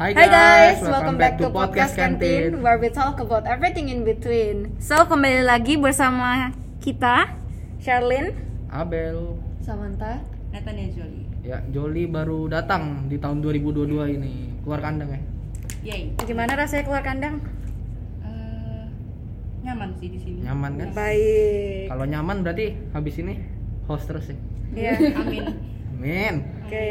Hi Hi guys, welcome back to Podcast Canteen where we talk about everything in between. So, kembali lagi bersama kita Sherlyn Abel, Samantha. Nathan dan Jolie. ya Joli baru datang di tahun 2022 ini keluar kandang ya. Yay. Gimana rasanya keluar kandang? Eh, nyaman sih di sini. Nyaman kan? Baik. Kalau nyaman berarti habis ini host terus ya. Iya. Amin. Amin. Oke.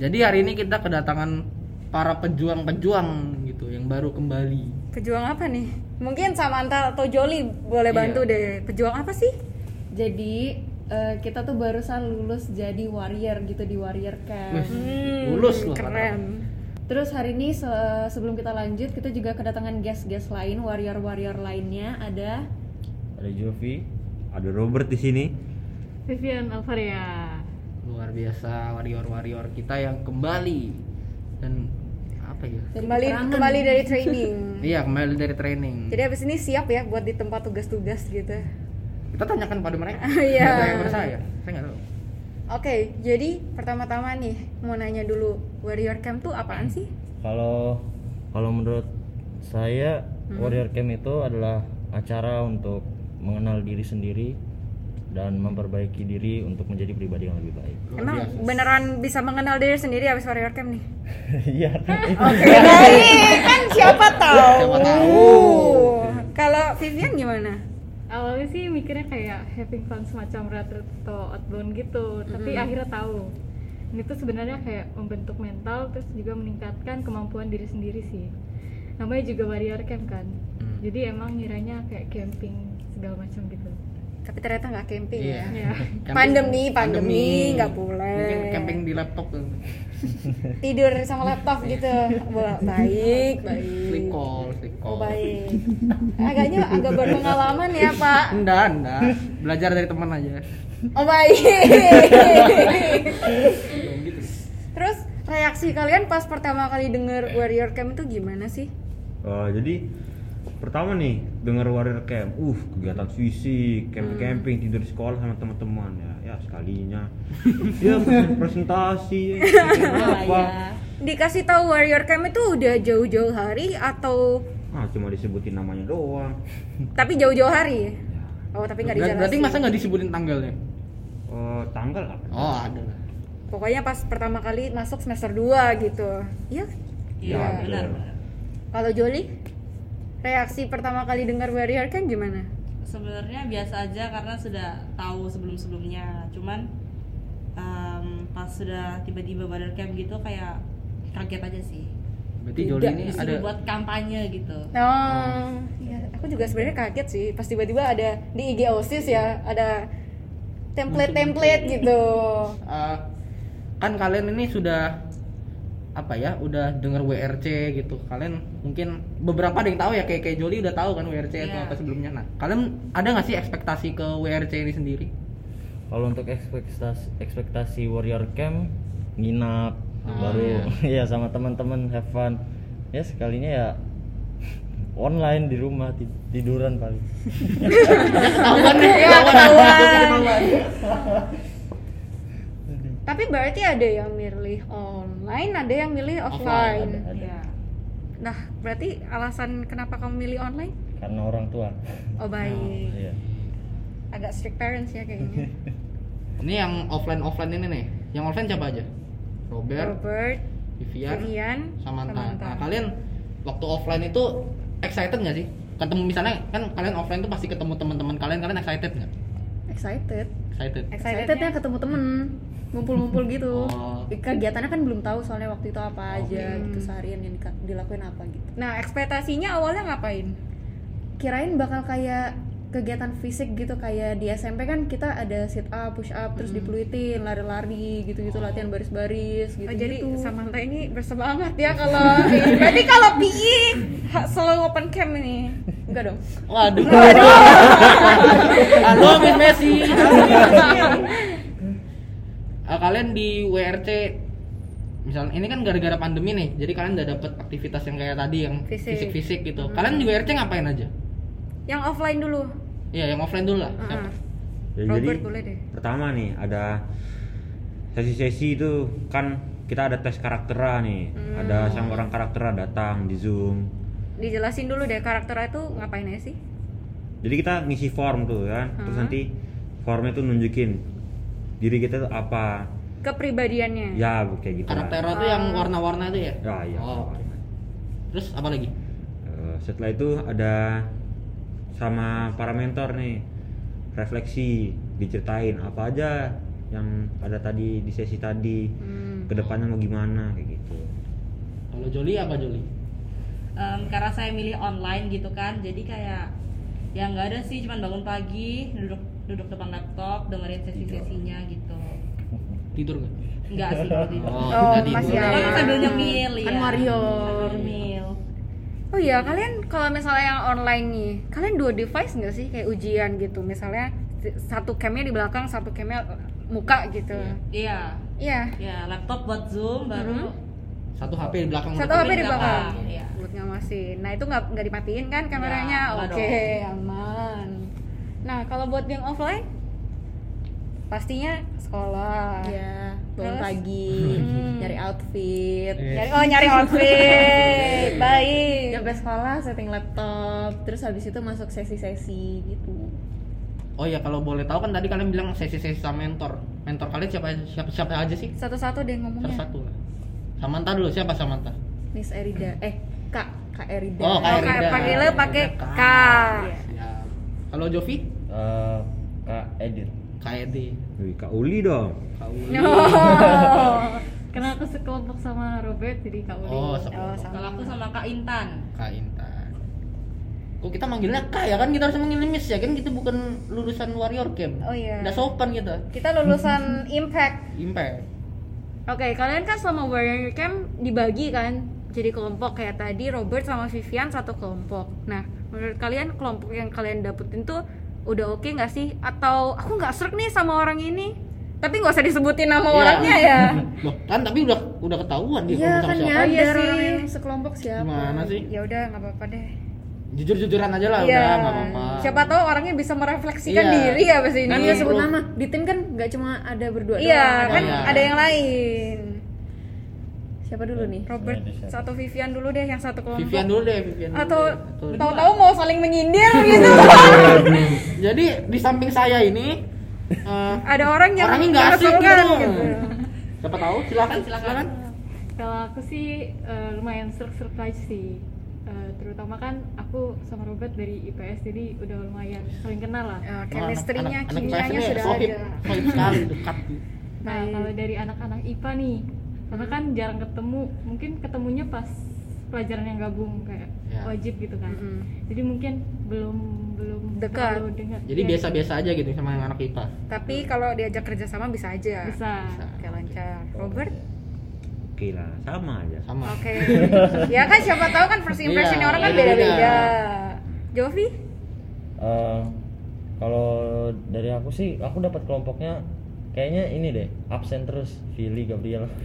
Jadi hari ini kita kedatangan para pejuang-pejuang gitu yang baru kembali. Pejuang apa nih? Mungkin Samantha atau Joli boleh Iya. bantu deh. Pejuang apa sih? Jadi eh, kita tuh barusan lulus jadi warrior gitu di warrior camp. Hmm, Lulus loh, Keren. Terus hari ini se- sebelum kita lanjut kita juga kedatangan guest-guest lain warrior-warrior lainnya ada ada Jovi, ada Robert di sini. Vivian Alvaria Luar biasa warrior-warrior kita yang kembali dan apa ya? dari Kembali peperangan. kembali dari training. Iya, kembali dari training. Jadi abis ini siap ya buat di tempat tugas-tugas gitu. Kita tanyakan pada mereka. Iya. Nggak Tanya pada saya. Saya nggak tahu. Oke, jadi pertama-tama nih mau nanya dulu Warrior Camp tuh apaan sih? Kalau kalau menurut saya Warrior Camp itu adalah acara untuk mengenal diri sendiri dan memperbaiki diri untuk menjadi pribadi yang lebih baik. Luar Emang biasa. beneran bisa mengenal diri sendiri abis Warrior Camp nih? Iya. Oke, baik. kan siapa tahu. Siapa tahu. Oh. Kalau Vivian gimana? awalnya sih mikirnya kayak having fun semacam retreat atau outbound gitu tapi akhirnya tahu ini tuh sebenarnya kayak membentuk mental terus juga meningkatkan kemampuan diri sendiri sih namanya juga warrior camp kan Hmm. jadi emang ngiranya kayak camping segala macam gitu Tapi ternyata nggak camping Iya. ya. ya Camping- Pandemi, pandemi, nggak boleh. Mungkin camping di laptop kan. Tidur sama laptop gitu. Wah, baik, baik. Sleep call, sleep call. Oh, baik. Agaknya agak berpengalaman ya, Pak. Enggak, enggak. Belajar dari teman aja. Oh, baik. Belum gitu. Terus reaksi kalian pas pertama kali denger Warrior Camp itu gimana sih? Eh, jadi pertama nih dengar Warrior Camp, uh kegiatan fisik, camp camping, tidur di sekolah sama teman-teman ya, ya sekalinya. ya presen- presentasi, apa? Dikasih tahu Warrior Camp itu udah jauh-jauh hari atau Ah cuma disebutin namanya doang. tapi jauh-jauh hari? Ya. Oh tapi nggak Ber- dijelasin. Berarti masa nggak disebutin tanggalnya? Eh, tanggal apa? Oh, ada lah. Pokoknya pas pertama kali masuk semester 2 gitu. Iya. Iya, Iya. benar. benar. Kalau Joli reaksi pertama kali dengar Warrior Camp gimana? Sebenarnya biasa aja karena sudah tahu sebelum-sebelumnya. Cuman em, pas sudah tiba-tiba Warrior Camp gitu kayak kaget aja sih. Berarti Joli ini Disuruh ada buat kampanye gitu. Oh, iya, aku juga sebenarnya kaget sih. Pas tiba-tiba ada di IG OSIS ya, ada template-template gitu. eh, kan kalian ini sudah apa ya udah dengar WRC gitu kalian mungkin beberapa ada yang tahu ya kayak kayak Joli udah tahu kan WRC itu Iya. apa sebelumnya nah kalian ada nggak sih ekspektasi ke WRC ini sendiri Kalau untuk ekspektasi ekspektasi Warrior Camp nginap Ah, baru ya sama teman-teman have fun. Ya sekalinya ya online di rumah ti- tiduran paling. Iya, ketahuan. Tapi berarti ada yang milih online, ada yang milih Offline, offline. Ada. Iya. Nah, berarti alasan kenapa kamu milih online? Karena orang tua. Oh baik, Iya. agak strict parents ya kayaknya. ini yang offline offline ini nih yang offline siapa aja Robert, Robert, Vivian, Vivian, Samantha. Nah, kalian waktu offline itu excited nggak sih? Ketemu misalnya kan kalian offline tuh pasti ketemu teman-teman kalian, kalian excited nggak? Excited. Excited. Excitednya ketemu temen ngumpul-ngumpul gitu. Oh. Kegiatannya kan belum tahu soalnya waktu itu apa aja Oke. gitu seharian yang dika- dilakuin apa gitu. Oh, iya. Nah, ekspektasinya awalnya ngapain? kirain bakal kayak kegiatan fisik gitu kayak di SMP kan kita ada sit up, push up, terus Hmm. dipeluitin, lari-lari gitu-gitu latihan baris-baris gitu. Oh, jadi gitu. Samantha ini bersemangat ya kalau berarti kalau PI ha- selalu open cam ini. enggak dong. Waduh. Halo, Miss Messi. Iya. Eh, kalian di WRC misalnya ini kan gara-gara pandemi nih, jadi kalian udah dapet aktivitas yang kayak tadi yang Fisik. fisik-fisik gitu. Kalian di WRC ngapain aja? Yang offline dulu. Iya, yang offline dulu lah. Heeh. Siapa? Ya, Robert boleh deh. pertama nih ada sesi-sesi itu kan kita ada tes karaktera nih Hmm. ada sama orang karaktera datang di zoom Dijelasin dulu deh karakternya itu ngapain aja sih? jadi kita ngisi form tuh kan terus Hmm. nanti formnya tuh nunjukin diri kita tuh apa Hmm. Kepribadiannya. ya kayak gitu lah. karakter tuh yang warna-warna itu ya ya iya Oh, oke. terus apa lagi Eh, setelah itu ada sama para mentor nih refleksi diceritain apa aja yang ada tadi di sesi tadi Hmm. kedepannya mau gimana kayak gitu kalau Joli apa Joli Em, karena saya milih online gitu kan jadi kayak ya nggak ada sih cuman bangun pagi duduk duduk depan laptop dengerin sesi-sesinya gitu tidur nggak nggak sih kalau tidur Oh, nggak tidur. pasti ya. Tapi Kan sambil nyemil ya Kan warrior. Sambil nyemil Oh iya, kalian kalau misalnya yang online nih, kalian dua device nggak sih kayak ujian gitu? Misalnya si- satu camnya di belakang, satu camnya muka gitu. iya Iya. ya laptop buat zoom baru satu HP di belakang Satu berarti. HP di belakang. belakang, iya. Buat ngawasin. Nah, itu nggak nggak dimatiin kan kameranya? Nggak, nggak Oke, aman. Nah, kalau buat yang offline pastinya sekolah. ya bangun Terus? pagi Hmm. nyari outfit Eh. Nyari, oh, nyari outfit. Baik. nyampe sekolah setting laptop terus habis itu masuk sesi-sesi gitu oh ya kalau boleh tahu kan tadi kalian bilang sesi-sesi sama mentor mentor kalian siapa siapa siapa aja sih Satu-satu deh satu ngomongnya. satu Samanta dulu siapa Samanta Miss Erida eh kak kak Erida Oh, Kak Oh, Erida. kayak panggilnya pakai Kak. K. ya kalau Jovi Eh, Kak Edit KD Wih, kak Uli dong Kauli No. Karena aku sekelompok sama Robert jadi Kak Uli. oh Oh, sekolah sama. kalau aku sama kak Intan Kak Intan kok kita manggilnya Kak ya kan kita harus manggilnya Miss ya kan kita bukan lulusan warrior camp Oh, iya. nggak sopan kita Kita lulusan Impact. impact Oke, kalian kan selama warrior camp dibagi kan jadi kelompok kayak tadi Robert sama Vivian satu kelompok. Nah, menurut kalian kelompok yang kalian dapetin tuh udah oke nggak sih? Atau aku nggak serg nih sama orang ini? Tapi nggak usah disebutin nama Iya. orangnya ya. loh kan tapi udah udah ketahuan dia iya ngomong kan sama nyadar Oh, iya sih. orang yang sekelompok siapa gimana sih Ya udah nggak apa-apa deh. jujur jujuran aja lah Iya. udah nggak apa-apa Siapa tahu orangnya bisa merefleksikan Iya. diri abis ini. kan Iya, nggak sebut bro. nama di tim kan nggak cuma ada berdua Iya, doang. kan Iya. ada yang lain. siapa dulu nih Robert satu Vivian dulu deh yang satu kelompok. Vivian dulu deh Vivian dulu Iya, atau deh. Atau- tahu-tahu mau saling menyindir gitu jadi di samping saya ini eh, ada orang yang orangnya nggak asing meresahkan gitu. gitu. siapa tahu silakan Silakan. silakan Kalau aku sih eh, lumayan surprise surprise sih. Eh, terutama kan aku sama Robert dari IPS jadi udah lumayan saling kenal lah. Eh, Anak- chemistry-nya, anak- anak IPS kimianya ini sudah sohib, ada. sohib sekali dekat Nah, kalau dari anak-anak IPA nih, karena kan jarang ketemu, mungkin ketemunya pas pelajaran yang gabung kayak Ya. wajib gitu kan. Mm-mm. Jadi mungkin belum belum Hmm. Dekat. terlalu dengar. jadi Iya. Ya, biasa-biasa aja gitu sama yang anak IPA Tapi kalau diajak kerjasama bisa aja. Bisa. Oke lancar. Robert, oke lah sama aja sama oke. ya kan siapa tahu kan first impression Iya, orang kan iya, beda-beda. iya. Jovi? Eh, Kalau dari aku sih Aku dapat kelompoknya Kayaknya ini deh Absen terus Vili Gabriel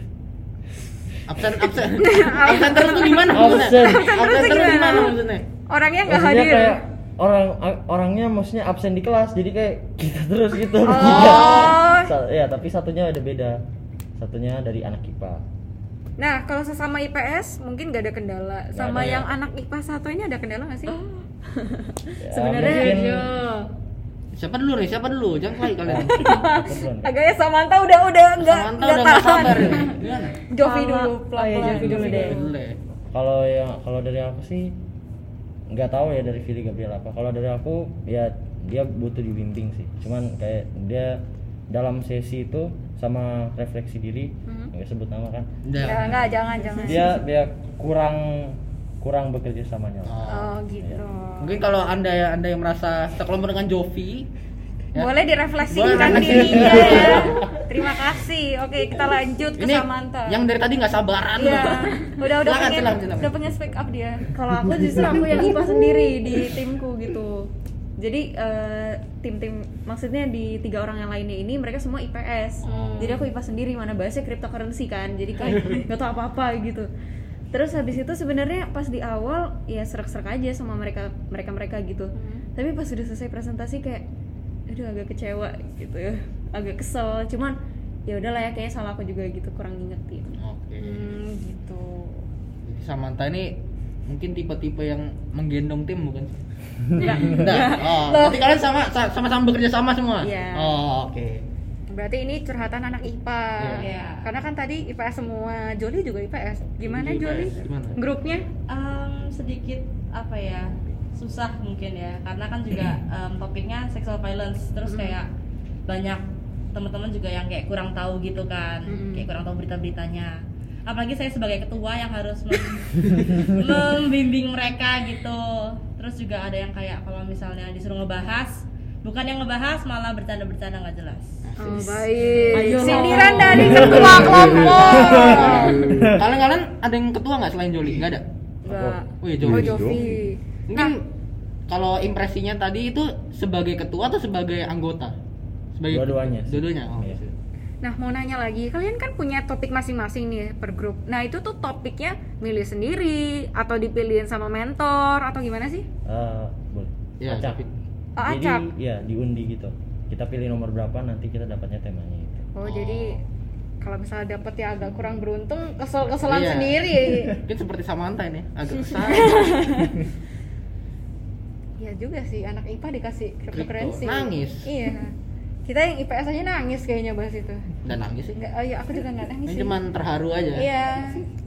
absen absen absen terus tuh gimana maksudnya? Absen. absen terus terus gimana gimana? maksudnya Orangnya Kan nggak Maksudnya hadir. kayak orang a- orangnya maksudnya absen di kelas jadi kayak kita terus gitu Oh. Sa- ya tapi satunya ada beda satunya dari anak IPA Nah, kalau sesama IPS mungkin nggak ada kendala. Nggak Sama ada, ya. yang anak IPA satu ini ada kendala nggak sih? Ya, Sebenarnya mungkin iya. siapa dulu nih siapa dulu jangan lagi kalian aku belum. Agaknya Samantha udah udah nggak Samanta nggak udah nggak tahan. Iya, sabar ini. gimana Jovi dulu, oh iya Jovi dulu deh Dulu deh. kalau yang kalau dari aku sih nggak tahu ya dari Vili Gabriel apa kalau dari aku ya dia butuh dibimbing sih cuman kayak dia dalam sesi itu sama refleksi diri Hmm. nggak sebut nama kan Udah. Ya, enggak, jangan, jangan. Iya. dia dia kurang kurang bekerja samanya lah. Oh. Oh, gitu. Mungkin kalau anda ya anda yang merasa sekelompok dengan Jovi, Ya. Boleh direfleksikan Boleh. dirinya ya. Terima kasih. Oke, kita lanjut ke ini Samantha. yang dari tadi nggak sabaran Iya. loh. Udah udah Silakan, pengen silakan, silakan. udah pengen speak up dia. kalau aku justru aku yang IPA sendiri di timku gitu jadi eh, tim-tim maksudnya di tiga orang yang lainnya ini mereka semua IPS jadi aku IPA sendiri mana bahasnya cryptocurrency kan jadi kayak nggak tahu apa-apa gitu terus habis itu sebenarnya pas di awal ya serak-serak aja sama mereka mereka mereka gitu tapi pas sudah selesai presentasi kayak aduh agak kecewa gitu ya agak kesel cuman ya udahlah ya kayaknya salah aku juga gitu kurang ngingetin Oke. Hmm, gitu. Jadi Samantha ini mungkin tipe-tipe yang menggendong tim bukan sih? Enggak. Enggak. Oh, berarti kalian sama sa- sama-sama bekerja sama semua. Iya. Oh, oke. Berarti ini curhatan anak IPA. Iya. Karena kan tadi IPS semua, Joli juga IPS. Gimana Jadi Joli? IPS, Gimana? Grupnya? Em, sedikit apa ya susah mungkin ya karena kan juga em, topiknya sexual violence terus kayak banyak teman-teman juga yang kayak kurang tahu gitu kan Mm-mm. kayak kurang tahu berita-beritanya apalagi saya sebagai ketua yang harus mem- membimbing mereka gitu terus juga ada yang kayak kalau misalnya disuruh ngebahas bukan yang ngebahas malah bercanda-bercanda nggak jelas Oh, baik. Ayo. Sindiran dari ketua kelompok. kalian kalian ada yang ketua nggak selain Joli? Nggak ada. Enggak. Wih, Oh, Joli. Jovi. iya, Mungkin kalau impresinya tadi itu sebagai ketua atau sebagai anggota? Sebagai Dua-duanya sih. Dua-duanya. Oh. Iya. Nah, mau nanya lagi, kalian kan punya topik masing-masing nih per grup. Nah, itu tuh topiknya milih sendiri atau dipilihin sama mentor atau gimana sih? Eh, boleh Iya, acap tapi- Oh, jadi acap. ya diundi gitu kita pilih nomor berapa nanti kita dapatnya temanya gitu Oh, Oh. jadi kalau misalnya dapet ya agak kurang beruntung, kesel-keselan Iya. sendiri. Mungkin seperti Samantha ini agak besar. Iya juga sih, anak IPA dikasih cryptocurrency. Nangis. Iya. Kita yang IPS aja nangis kayaknya bahas itu. Dan nangis sih. Enggak, oh iya aku juga nggak nangis Ini sih. cuman terharu aja. Iya.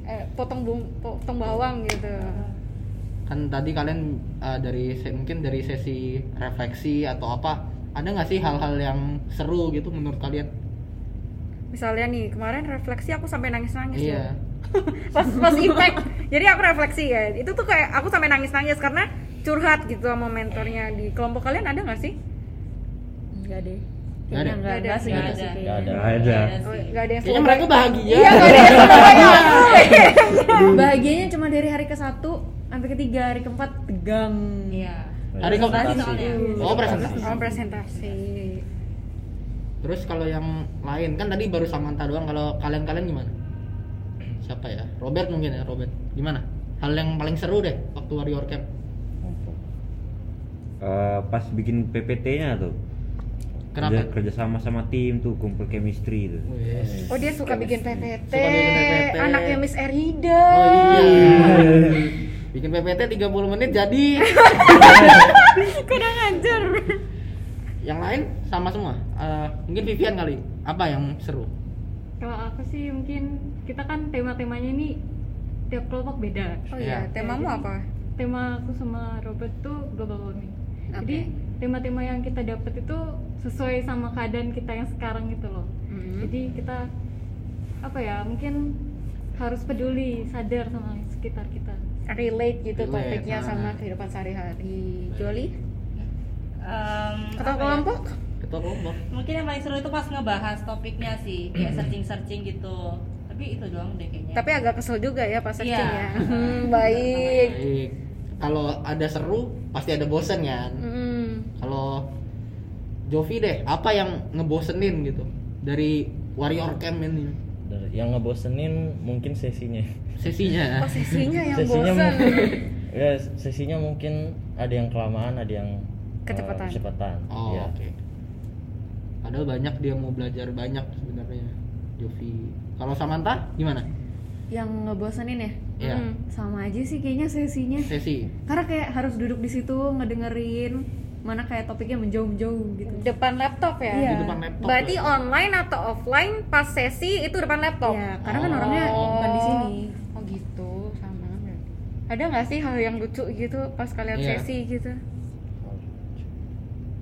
Eh, potong bung, potong bawang gitu. kan tadi kalian uh, dari se- mungkin dari sesi refleksi atau apa ada nggak sih hal-hal yang seru gitu menurut kalian Misalnya nih, kemarin refleksi aku sampai nangis-nangis loh. iya pas pas impact jadi aku refleksi ya itu tuh kayak aku sampai nangis nangis karena curhat gitu sama mentornya di kelompok kalian ada nggak sih enggak deh Nggak ada. Kayaknya enggak Nggak enggak ada. sih Nggak gitu sih ada. nggak ada kayaknya Nggak ada. Oh, sih. nggak ada yang kayaknya sebagai- mereka bahagia iya nggak ada yang sebagai aku bahagianya cuma dari hari ke satu sampai ketiga hari keempat tegang iya Hari Presentasi. keempat soalnya. Iya. oh presentasi oh, presentasi terus kalau yang lain kan tadi baru Samantha doang kalau kalian-kalian gimana siapa ya Robert mungkin ya Robert gimana hal yang paling seru deh waktu warrior camp Eh, pas bikin PPT-nya tuh. Kenapa? Kerja, kerja sama sama tim tuh kumpul chemistry tuh. oh dia suka bikin PPT Suka bikin PPT. anaknya Miss Erida oh iya bikin PPT 30 menit jadi kurang ajar yang lain sama semua Eh, mungkin Vivian kali apa yang seru Kalau aku sih mungkin kita kan tema-temanya ini tiap kelompok beda. oh iya Iya. temamu apa Tema aku sama Robert tuh global warming. Jadi tema-tema yang kita dapat itu sesuai sama keadaan kita yang sekarang gitu loh. Hmm? Jadi kita apa ya mungkin harus peduli sadar sama sekitar kita. relate gitu Relate, topiknya ah. sama kehidupan sehari-hari Joli Em, ketua apa ya? kelompok ketua kelompok mungkin yang paling seru itu pas ngebahas topiknya sih kayak searching searching gitu tapi itu doang deh kayaknya tapi agak kesel juga ya pas searching Iya. ya hmm, baik baik kalau ada seru pasti ada bosen kan hmm. kalau Jovi deh apa yang ngebosenin gitu dari warrior camp ini Dari- yang ngebosenin mungkin sesinya sesinya posisinya yang sesinya bosan mungkin ya sesinya mungkin ada yang kelamaan ada yang eh, Kecepatan. kecepatan oh Iya. ya. oke padahal banyak dia mau belajar banyak sebenarnya Jovi kalau Samantha gimana yang ngebosenin ya ya Hmm. sama aja sih kayaknya sesinya sesi karena kayak harus duduk di situ ngedengerin mana kayak topiknya menjauh-menjauh gitu depan laptop ya Iya. di depan laptop Eh, berarti lah. online atau offline pas sesi itu depan laptop Iya. ya karena kan orangnya Oh. bukan di sini oh gitu sama berarti. ada nggak sih hal yang lucu gitu pas kalian Iya. sesi gitu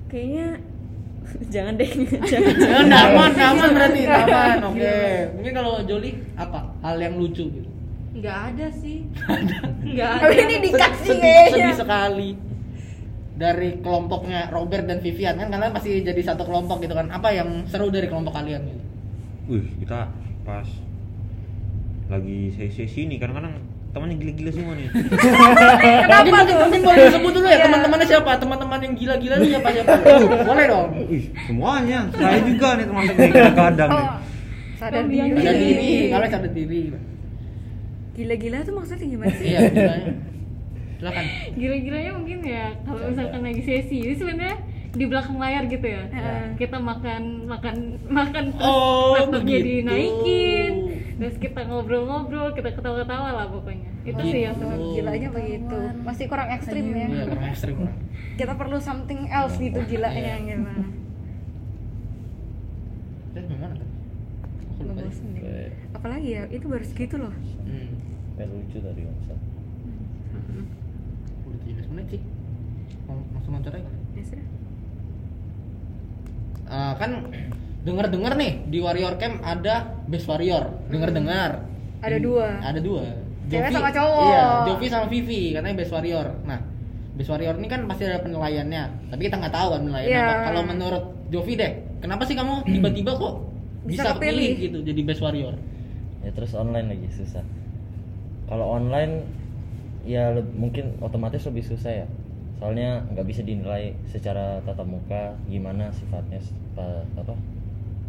kayaknya jangan deh jangan Eh, Naman, naman berarti naman. Oke. Mungkin kalau Joli apa? Hal yang lucu gitu. nggak ada sih nggak ada tapi ini dikasih sedih, ya. sedih kayaknya Oh. sekali. Dari kelompoknya Robert dan Vivian kan kalian pasti jadi satu kelompok gitu kan. Apa yang seru dari kelompok kalian gitu? Wih, kita pas lagi sesi-sesi nih kadang-kadang temannya gila-gila semua nih. Mungkin, mungkin, mungkin boleh disebut dulu ya teman-temannya siapa? Teman-teman yang gila-gila itu siapa siapa? boleh dong. Wih, semuanya. Saya juga nih teman-teman yang kadang-kadang nih. Oh, sadar Kamu diri yang Ada diri, kalian sadar diri. gila-gila tuh maksudnya gimana sih Iya, gilanya. silakan. Gila-gilanya mungkin ya kalau misalkan lagi sesi itu sebenarnya di belakang layar gitu ya kita makan makan makan terus Iya. Oh, laptopnya begitu. dinaikin terus kita ngobrol-ngobrol kita ketawa-ketawa lah pokoknya itu sih yang Gitu. seru ya, Gilanya begitu. Masih kurang ekstrim ya. Iya, kurang ekstrim lah. Kita perlu something else gitu gilanya gimana. Terus gimana tadi? Aku lupa deh. Ngebosen ya. kayak Apalagi ya, itu baru segitu loh. Hmm. kayak lucu tadi nggak usah. Udah 17 menit sih. Mau langsung loncat aja kali. Ya sudah. Eh, kan denger-denger nih di Warrior Camp ada Best Warrior. Denger-dengar. Ada Hmm, dua. Ada dua. Cewek sama cowok. Iya, Jovi sama Vivi katanya Best Warrior. Nah, Best Warrior ini kan pasti ada penilaiannya, tapi kita nggak tahu kan penilaiannya Iya. apa. Kalau menurut Jovi deh, kenapa sih kamu tiba-tiba kok Bisa bisa, kepilih. kepilih gitu jadi Best Warrior? ya terus online lagi susah kalau online ya le- mungkin otomatis lebih susah ya soalnya nggak bisa dinilai secara tatap muka gimana sifatnya s- pa- apa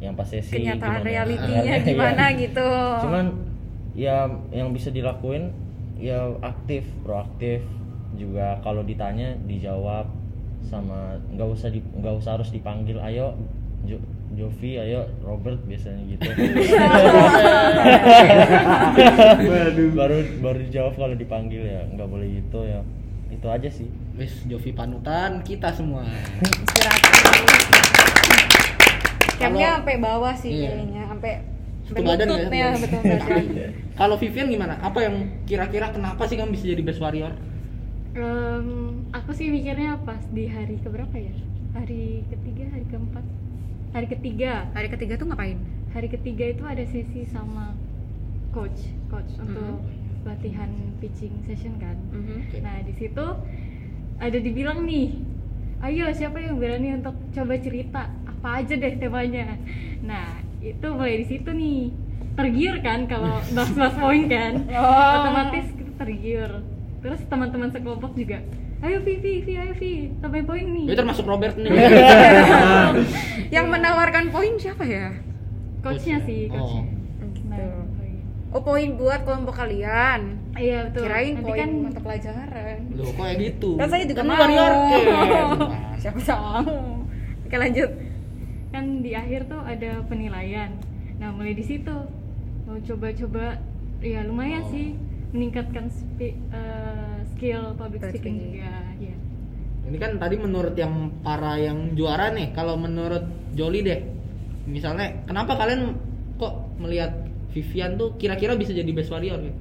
yang pas sesi Kenyataan gimana. realitinya Iya. gimana gitu. cuman ya yang bisa dilakuin ya aktif proaktif juga kalau ditanya dijawab sama nggak usah di nggak usah harus dipanggil ayo Jo- Jovi ayo Robert biasanya gitu baru baru dijawab kalau dipanggil ya nggak boleh gitu ya itu aja sih Wis Jovi panutan kita semua. Inspiratif. Kalau- Campnya sampai bawah sih Iya. kayaknya, sampai sampai Satu badan ya, lutut satu ya, badan. betul betul. Kalau Vivian gimana? Apa yang kira-kira kenapa sih kamu bisa jadi Best Warrior? Em, aku sih mikirnya pas di hari keberapa ya hari ketiga hari keempat hari ketiga Hari ketiga tuh ngapain? hari ketiga itu ada sesi sama coach coach untuk Mm-hmm. latihan pitching session kan nah di situ ada dibilang nih ayo siapa yang berani untuk coba cerita apa aja deh temanya nah itu mulai di situ nih tergiur kan kalau bahas-bahas poin kan Oh. otomatis kita tergiur terus teman-teman sekelompok juga ayo Vivi, Vivi, ayo Vivi, sampai poin nih Itu Ya, termasuk Robert nih. Yang menawarkan poin siapa ya? coachnya sih Oh. coachnya nah, poin. Oh poin buat kelompok kalian. iya betul Kirain nanti poin kan mata pelajaran. Loh, kok kayak gitu? Kan saya juga Kan mau. Warrior Camp. Siapa tahu. Oke lanjut. kan di akhir tuh ada penilaian nah mulai di situ mau coba-coba ya lumayan Oh. sih meningkatkan spi- eh, skill public Public speaking speaking. juga ya Ini kan tadi menurut yang para yang juara nih, kalau menurut Joli deh, misalnya kenapa kalian kok melihat Vivian tuh kira-kira bisa jadi best warrior gitu?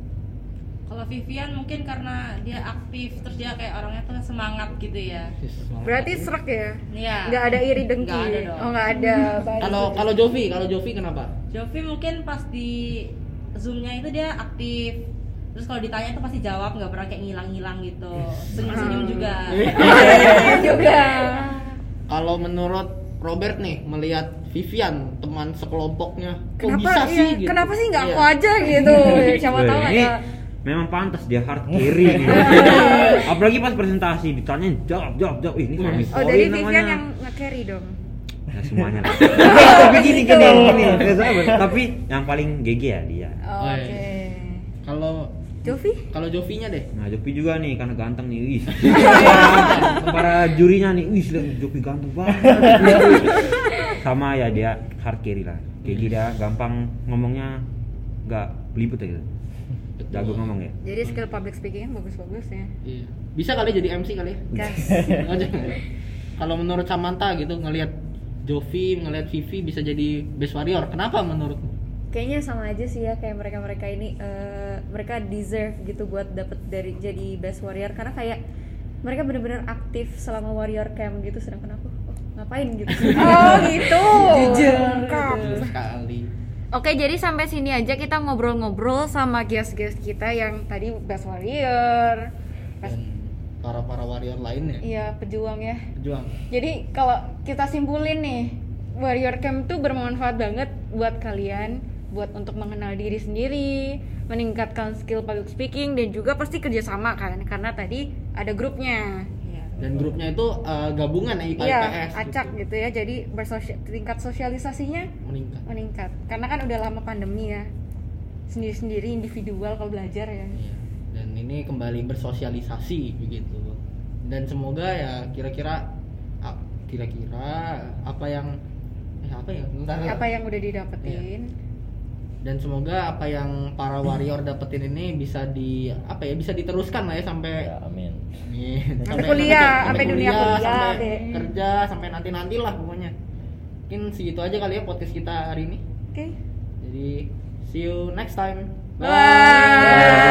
Kalau Vivian mungkin karena dia aktif terus dia kayak orangnya tuh semangat gitu ya. Sis, semangat. Berarti serak ya? Iya. Nggak ada iri dengki. Nggak ada dong. Oh nggak ada. Baik. kalau kalau Jovi, kalau Jovi kenapa? Jovi mungkin pas di zoomnya itu dia aktif. Terus kalau ditanya tuh pasti jawab nggak pernah kayak ngilang-ngilang gitu. Senyum-senyum Ah. juga. Iya. Iya, juga. Kalau menurut Robert nih melihat Vivian teman sekelompoknya, kok Kenapa? bisa iya, sih? gitu? Kenapa sih nggak Iya. aku aja gitu? Siapa tahu Weh, ini ada. memang pantas dia hard carry gitu. apalagi pas presentasi ditanya jawab jawab jawab Iya. Ih, ini suami Oh sorry jadi Vivian namanya. yang nge-carry dong. ya semuanya lah tapi gini gini gini Nggak sabar. Iya. tapi yang paling GG ya dia Oh, Weh. Oke. Kalau Jovi? kalau Jovinya deh, Nah Jopi juga nih karena ganteng nih, wis. Para jurinya nih, wis lihat Jopi ganteng banget. Sama ya dia hard carry lah. Kayak dia gampang ngomongnya nggak belibet ya gitu. Jago ngomong ya. Jadi skill public speaking bagus-bagus ya. Iya. Bisa kali jadi MC kali ya? Gas. Oh, jangan. Kalau menurut Samantha gitu ngelihat Jovi, ngelihat Vivi bisa jadi best warrior. Kenapa menurutmu? kayaknya sama aja sih ya kayak mereka mereka ini eh, mereka deserve gitu buat dapet dari jadi best warrior karena kayak mereka bener-bener aktif selama warrior camp gitu sedangkan aku oh, ngapain gitu Oh gitu. Jujur. Lengkap. Sekali. Oke, jadi sampai sini aja kita ngobrol-ngobrol sama guest-guest kita yang tadi Best Warrior. Dan para-para warrior lainnya. Iya, pejuang ya. Juang. Jadi kalau kita simpulin nih, Warrior Camp tuh bermanfaat banget buat kalian, buat untuk mengenal diri sendiri, meningkatkan skill public speaking dan juga pasti kerjasama kan, karena tadi ada grupnya. Iya. Dan grupnya itu eh, gabungan ya IPA Iya, IPS. acak gitu ya. Jadi bersosia- tingkat sosialisasinya Meningkat. meningkat. Karena kan udah lama pandemi ya, sendiri-sendiri individual kalau belajar ya. Iya. Dan ini kembali bersosialisasi begitu. Dan semoga ya kira-kira ah, kira-kira apa yang eh, apa ya Bentar. apa yang udah didapetin dan semoga apa yang para warrior dapetin ini bisa di apa ya bisa diteruskan lah ya sampai ya amin Amin. Sampai kuliah, sampai dunia kuliah, Hmm. sampai deh. kerja, sampai nanti nantilah pokoknya. Mungkin segitu aja kali ya podcast kita hari ini. oke Jadi see you next time. bye.